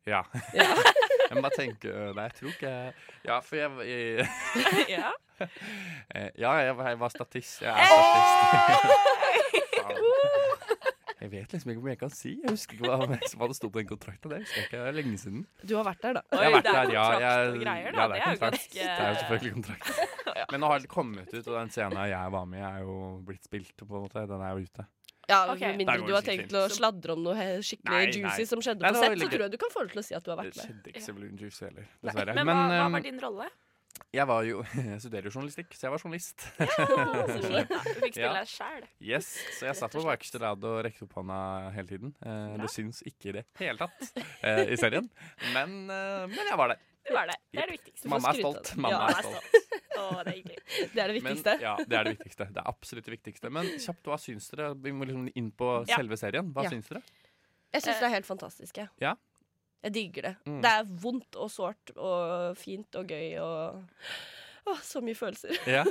Speaker 3: Ja.
Speaker 4: Ja.
Speaker 3: jeg må bare tenke øh, Nei, jeg tror ikke jeg- Ja, for jeg, jeg
Speaker 5: ja.
Speaker 3: eh, Ja, jeg var, jeg var statist. Jeg er statist. Faen. Jeg vet liksom ikke hvor mye jeg kan si. Jeg husker ikke hva hva som hadde stått på den kontrakten. Det husker jeg ikke. Det er lenge siden.
Speaker 4: Du har vært der, da.
Speaker 5: Oi,
Speaker 3: jeg har vært
Speaker 5: det er
Speaker 3: der, ja.
Speaker 5: kontrakt
Speaker 3: Jeg,
Speaker 5: og greier, da.
Speaker 3: ja,
Speaker 5: Det er jo
Speaker 3: kontrakt.
Speaker 5: ganske-
Speaker 3: Det er jo selvfølgelig kontrakt. Men nå har det kommet ut, og den scenen jeg var med i, er jo blitt spilt, på en måte. Den er jo ute.
Speaker 4: Ja,
Speaker 5: Ok.
Speaker 4: Med
Speaker 3: Der
Speaker 4: mindre
Speaker 3: går
Speaker 4: du
Speaker 3: det
Speaker 4: har
Speaker 3: sikkert
Speaker 4: tenkt til å sladre om noe he- skikkelig
Speaker 3: Nei, nei.
Speaker 4: juicy som skjedde
Speaker 3: Nei,
Speaker 4: på
Speaker 3: det var
Speaker 4: sett,
Speaker 3: veldig
Speaker 4: så
Speaker 3: gøy.
Speaker 4: tror jeg du kan få lov til å si at du har
Speaker 3: Det
Speaker 4: vært med.
Speaker 3: skjedde ikke så veldig juicy heller, dessverre. eh, um,
Speaker 5: Men, hva, hva
Speaker 3: øhm,
Speaker 5: var din rolle?
Speaker 3: jeg var jo Jeg studerer journalistikk, så jeg var journalist.
Speaker 5: Så fint, da. Du fikk
Speaker 3: Ja.
Speaker 5: spille deg sjæl.
Speaker 3: Yes, så jeg satt på bakerste rad og rekte opp hånda hele tiden. Eh, det syns ikke i det hele tatt eh, i serien, men, eh, men jeg var der.
Speaker 5: Det var det. Det er det viktigste.
Speaker 4: Man-
Speaker 3: Mamma er
Speaker 4: skryte av
Speaker 3: stolt.
Speaker 4: det.
Speaker 3: Mamma
Speaker 4: Ja.
Speaker 3: er stolt.
Speaker 5: Å, det er hyggelig.
Speaker 4: Det er det
Speaker 3: Men,
Speaker 4: viktigste.
Speaker 3: ja, det er det viktigste. Det er absolutt det viktigste. Men kjapt, hva syns dere? Vi må liksom inn på
Speaker 5: Ja.
Speaker 3: selve serien. Hva
Speaker 4: Ja.
Speaker 3: syns dere?
Speaker 4: Jeg syns det er helt fantastisk. Jeg,
Speaker 3: Ja.
Speaker 4: jeg digger det.
Speaker 3: Mm.
Speaker 4: Det er vondt og sårt og fint og gøy og Åh, så mye følelser.
Speaker 3: Ja.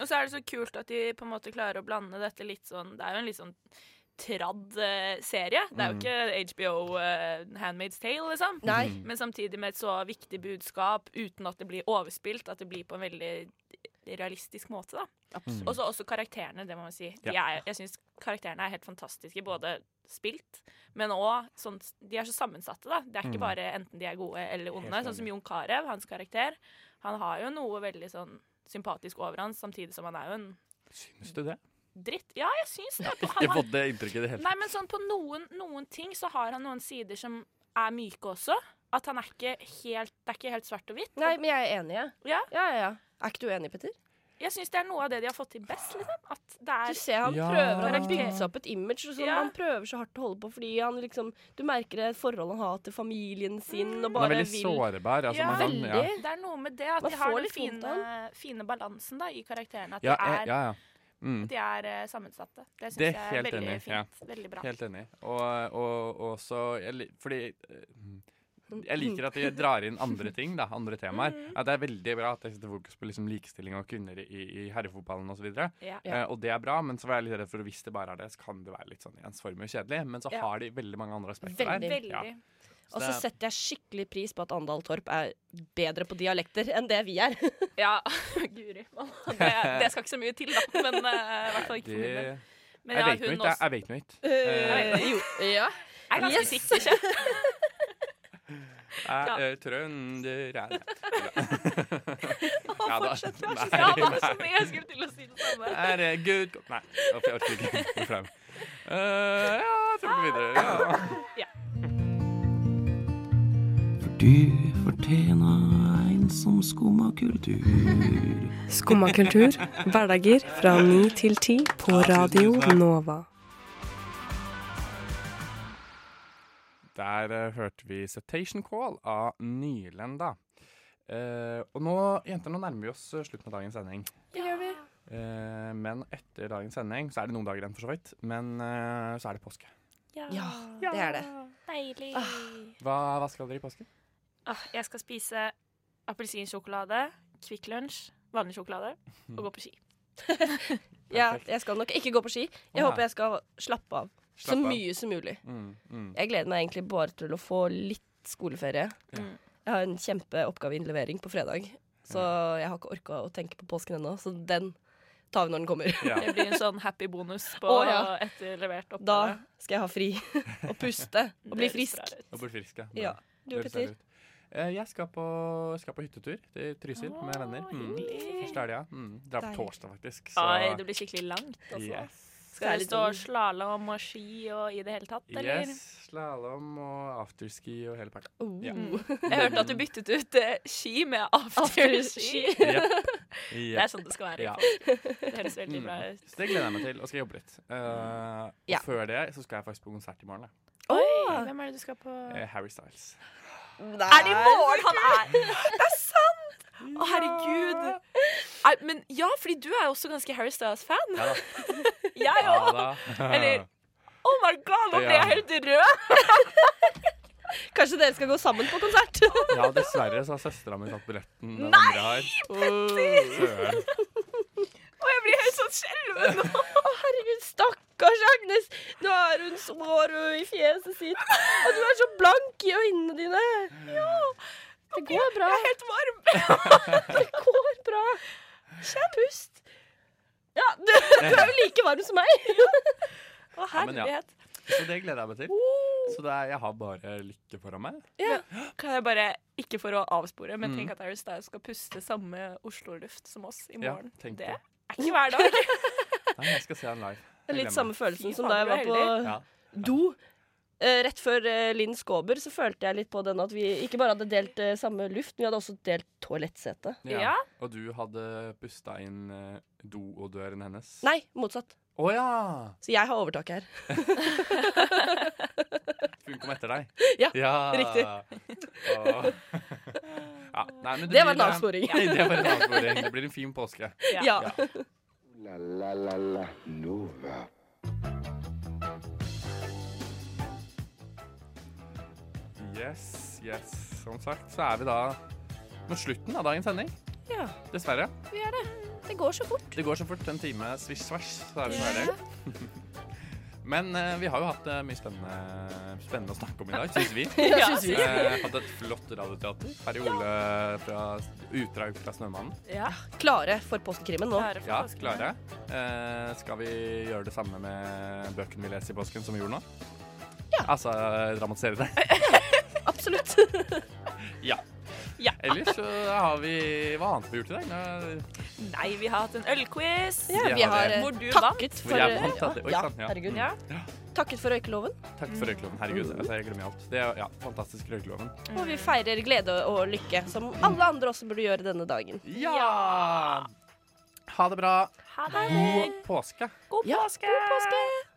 Speaker 5: Og så er det så kult at de på en måte klarer å blande dette litt sånn eh, Det er jo en litt sånn eh,
Speaker 4: Nei.
Speaker 5: liksom. Mm. Men samtidig med et så viktig budskap uten at det blir overspilt. At det blir på en veldig realistisk måte, da. Og så også karakterene, det må man si. De
Speaker 3: Ja.
Speaker 5: er, jeg syns karakterene er helt fantastiske, både spilt, men òg sånn De er så sammensatte, da. Det er ikke bare enten de er gode eller onde. Sånn som Jon Carew, hans karakter. Han har jo noe veldig sånn sympatisk over hans, samtidig som han er jo en
Speaker 3: Syns du det?
Speaker 5: dritt. Ja, jeg syns det. Han
Speaker 3: Jeg
Speaker 5: har-
Speaker 3: fått det inntrykket i det hele
Speaker 5: Nei, men sånn på noen, noen ting så har han noen sider som er myke også. At han er ikke helt, det er ikke helt svart og hvitt.
Speaker 4: Nei, men jeg er enig, jeg.
Speaker 5: Ja.
Speaker 4: Ja, ja, ja. Er ikke du enig, Petter?
Speaker 5: Jeg syns det er noe av det de har fått til best, liksom. At det
Speaker 4: Du
Speaker 5: er
Speaker 4: ser han
Speaker 3: Ja.
Speaker 4: prøver, han har bygd seg opp et image. og Sånn,
Speaker 5: Ja.
Speaker 4: Han prøver så hardt å holde på fordi han liksom Du merker det forholdet han har til familien sin, og
Speaker 3: Han er
Speaker 4: bare
Speaker 3: veldig
Speaker 4: vil
Speaker 3: sårbar. Altså,
Speaker 5: Ja,
Speaker 3: man kan- ja.
Speaker 4: veldig.
Speaker 5: Det er noe med det at
Speaker 4: Man
Speaker 5: de har
Speaker 4: får
Speaker 5: den
Speaker 4: litt vondt
Speaker 5: fine,
Speaker 4: av
Speaker 5: fine balansen da, i karakterene. At
Speaker 3: Ja,
Speaker 5: de
Speaker 3: jeg-
Speaker 5: er,
Speaker 3: ja, ja. Mm.
Speaker 5: de er eh, sammensatte. Det syns
Speaker 3: Det er
Speaker 5: jeg er
Speaker 3: helt
Speaker 5: veldig
Speaker 3: enig, ja.
Speaker 5: fint. Veldig bra.
Speaker 3: Helt enig. Og, og, og så jeg, li- Fordi eh,
Speaker 5: Mm.
Speaker 3: jeg liker at de drar inn andre ting, da, andre temaer.
Speaker 5: Mm.
Speaker 3: Ja, det er veldig bra at jeg setter fokus på liksom likestilling og kvinner i, i herrefotballen osv. Og,
Speaker 5: Ja.
Speaker 3: ja. eh, og det er bra, men så var jeg litt redd for hvis det bare er det, så kan det være litt sånn ensformig og kjedelig. Men så
Speaker 5: Ja.
Speaker 3: har de veldig mange andre aspekter
Speaker 4: Veldig.
Speaker 3: der.
Speaker 5: Veldig.
Speaker 3: Ja.
Speaker 4: Og så
Speaker 3: det-
Speaker 4: setter jeg skikkelig pris på at Andal Torp er bedre på dialekter enn det vi er.
Speaker 5: Ja, guri. Det, det skal ikke så mye til, da. Men eh, i hvert fall ikke for min del.
Speaker 3: Det,
Speaker 5: Men
Speaker 3: jeg
Speaker 5: ja,
Speaker 3: vet noe
Speaker 5: hun
Speaker 3: ikke.
Speaker 5: også
Speaker 3: Jeg vet noe ikke.
Speaker 4: Eh, jo, ja.
Speaker 5: er ganske
Speaker 4: Yes.
Speaker 5: sikker, ikke?
Speaker 3: Jeg
Speaker 5: Ja.
Speaker 3: er trønder jeg. Ja da.
Speaker 5: Fortsett, vær så
Speaker 3: Nei,
Speaker 5: snill. Ja, vær
Speaker 3: nei.
Speaker 5: så snill. Jeg skulle til å si det samme.
Speaker 3: Er det good co- Nei, uff, jeg orker ikke gå frem. Eh, ja, jeg tror vi går videre. Ja.
Speaker 9: Du fortjener en som skummer kultur.
Speaker 10: Skumma kultur. Hverdager fra 9 til 10 på Radio Nova.
Speaker 3: Der eh, hørte vi 'Cetation Call' av Nylenda. Eh, og nå, jenter, nå nærmer vi oss eh, slutten av dagens sending.
Speaker 4: Det gjør vi.
Speaker 3: Eh, men etter dagens sending så er det noen dager igjen, for så vidt. Men eh, så er det påske.
Speaker 4: Ja, det er det. Ah.
Speaker 5: Deilig.
Speaker 3: Hva, hva skal dere i påske?
Speaker 5: Ah, jeg skal spise appelsinsjokolade, Kvikk Lunsj, vanlig sjokolade og gå på ski.
Speaker 4: Ja,
Speaker 3: Perfekt.
Speaker 4: jeg skal nok ikke gå på ski. Jeg
Speaker 3: Å, nei.
Speaker 4: håper jeg skal slappe av så
Speaker 3: Slapp av.
Speaker 4: mye som mulig.
Speaker 3: Mm, mm.
Speaker 4: Jeg gleder meg egentlig bare til å få litt skoleferie.
Speaker 3: Ja.
Speaker 5: Mm.
Speaker 4: Jeg har en kjempeoppgaveinnlevering på fredag, så jeg har ikke orka å tenke på påsken ennå. Så den tar vi når den kommer.
Speaker 3: Ja.
Speaker 5: Det blir en sånn happy bonus på
Speaker 4: Å, ja.
Speaker 5: etter levert oppgave.
Speaker 4: Da skal jeg ha fri og puste og bli
Speaker 5: Det høres
Speaker 4: frisk.
Speaker 5: bra ut.
Speaker 3: Og bli frisk, ja.
Speaker 4: Ja. Du,
Speaker 3: Det høres
Speaker 4: Petter?
Speaker 3: deilig ut. Eh, jeg skal på, skal på hyttetur til Trysil med venner. Mm. Første helga. Mm. Drar på
Speaker 4: Deilig.
Speaker 3: torsdag, faktisk. Så
Speaker 5: Oi, det blir skikkelig langt. Også.
Speaker 3: yes.
Speaker 5: Skal
Speaker 4: Særlig
Speaker 5: det stå
Speaker 4: sånn-
Speaker 5: slalåm og ski og i det hele tatt, eller?
Speaker 3: yes. Slalåm og afterski og hele pakka.
Speaker 4: Oh.
Speaker 3: Ja.
Speaker 5: Jeg hørte at du byttet ut eh, ski med afterski.
Speaker 4: Afterski.
Speaker 3: Jepp.
Speaker 5: Det er
Speaker 3: Jepp.
Speaker 5: sånn det skal være.
Speaker 3: Ja.
Speaker 5: Det høres veldig bra ut.
Speaker 3: Så det gleder jeg meg til, og skal jobbe litt. Eh,
Speaker 4: Ja.
Speaker 3: Og før det så skal jeg faktisk på konsert i morgen. Da.
Speaker 4: Åh!
Speaker 5: Hvem er det du skal på?
Speaker 3: Eh, Harry Styles.
Speaker 5: Er det i morgen han er? Det er sant! Å, herregud. Nei, men ja, fordi du er jo også ganske Harry Styles-fan.
Speaker 3: Ja da.
Speaker 5: Jeg
Speaker 3: Ja,
Speaker 5: òg.
Speaker 3: da.
Speaker 5: Eller Oh my god, nå ble
Speaker 3: Ja.
Speaker 5: jeg helt rød!
Speaker 4: Kanskje dere skal gå sammen på konsert?
Speaker 3: ja, dessverre så har søstera mi tatt billetten den andre har. Søren.
Speaker 5: Og jeg blir helt sånn skjelven nå.
Speaker 4: Å, herregud, stakkars Agnes! Nå er hun så rød i fjeset sitt, og du er så blank i øynene dine. Det går bra.
Speaker 5: Jeg er helt varm.
Speaker 4: Det går bra. Pust. Ja, du, du er jo like varm som meg.
Speaker 5: Å,
Speaker 3: Ja, men ja.
Speaker 5: herlighet.
Speaker 3: Så det gleder jeg meg til.
Speaker 5: Oh.
Speaker 3: Så det er, jeg har bare lykke foran meg.
Speaker 5: Kan jeg bare, ikke for å avspore, men
Speaker 3: Mm.
Speaker 5: tenk at Harry Styles skal puste samme Oslo-luft som oss i
Speaker 3: Ja,
Speaker 5: morgen.
Speaker 3: tenk
Speaker 5: det
Speaker 3: det.
Speaker 5: er ikke hver dag.
Speaker 3: Nei, jeg skal se han live. Jeg gleder
Speaker 4: Litt
Speaker 3: meg.
Speaker 4: samme
Speaker 5: Fy
Speaker 4: følelsen som da
Speaker 5: faen,
Speaker 4: jeg var
Speaker 5: du er
Speaker 4: på
Speaker 5: heldig.
Speaker 3: Ja.
Speaker 4: do. Eh, rett før eh, Linn Skåber så følte jeg litt på den at vi ikke bare hadde delt eh, samme luft, men vi hadde også delt toalettsete.
Speaker 3: Ja.
Speaker 5: Ja.
Speaker 3: Og du hadde pusta inn eh, doodøren hennes?
Speaker 4: Nei, motsatt.
Speaker 3: Å ja!
Speaker 4: Så jeg har overtaket her.
Speaker 3: Hun kom etter deg?
Speaker 4: Ja, riktig.
Speaker 3: Å. Ja, nei, men
Speaker 4: Det var en
Speaker 3: blir, eh,
Speaker 4: avsporing.
Speaker 3: Nei, det var en avsporing. Det blir en fin påske.
Speaker 4: Ja.
Speaker 2: Ooh la la la la Nova.
Speaker 3: Yes, yes. Som sagt så er vi da mot slutten av dagens sending.
Speaker 4: Ja.
Speaker 3: Dessverre.
Speaker 4: Det går så fort.
Speaker 3: Det går så fort. En time svisj-svasj, så er vi ferdig. Men eh, vi har jo hatt eh, mye spennende, spennende å snakke om i dag, syns vi.
Speaker 4: Ja, synes vi.
Speaker 3: Eh, hatt et flott radioteater. Kari Ole fra Utdrag fra Snømannen.
Speaker 4: Ja. Klare for påskekrimmen nå.
Speaker 3: Ja, klare. Eh, skal vi gjøre det samme med bøkene vi leser i påsken som vi gjorde nå? Ja. Altså eh, dramatisere det?
Speaker 4: Absolutt.
Speaker 3: ja.
Speaker 5: Ja.
Speaker 3: Ellers så har vi Hva annet har vi gjort i dag? Nå-
Speaker 5: Nei, vi har hatt en ølquiz.
Speaker 4: Ja,
Speaker 3: vi har det.
Speaker 5: Hvor du vant.
Speaker 4: takket
Speaker 3: Hvor
Speaker 4: for
Speaker 3: jeg vant, da. Oi,
Speaker 4: ja, Mm.
Speaker 3: sant, ja. Mm.
Speaker 4: herregud.
Speaker 5: Ja.
Speaker 4: Takket for røykeloven.
Speaker 3: Takk for røykeloven. Herregud, altså, jeg glemmer alt. Det er ja, fantastisk røykeloven.
Speaker 4: Og vi feirer glede og lykke, som alle andre også burde gjøre denne dagen.
Speaker 3: Ja! Ha det bra.
Speaker 5: Ha det.
Speaker 3: God påske.
Speaker 5: God
Speaker 4: Ja,
Speaker 5: påske. God påske.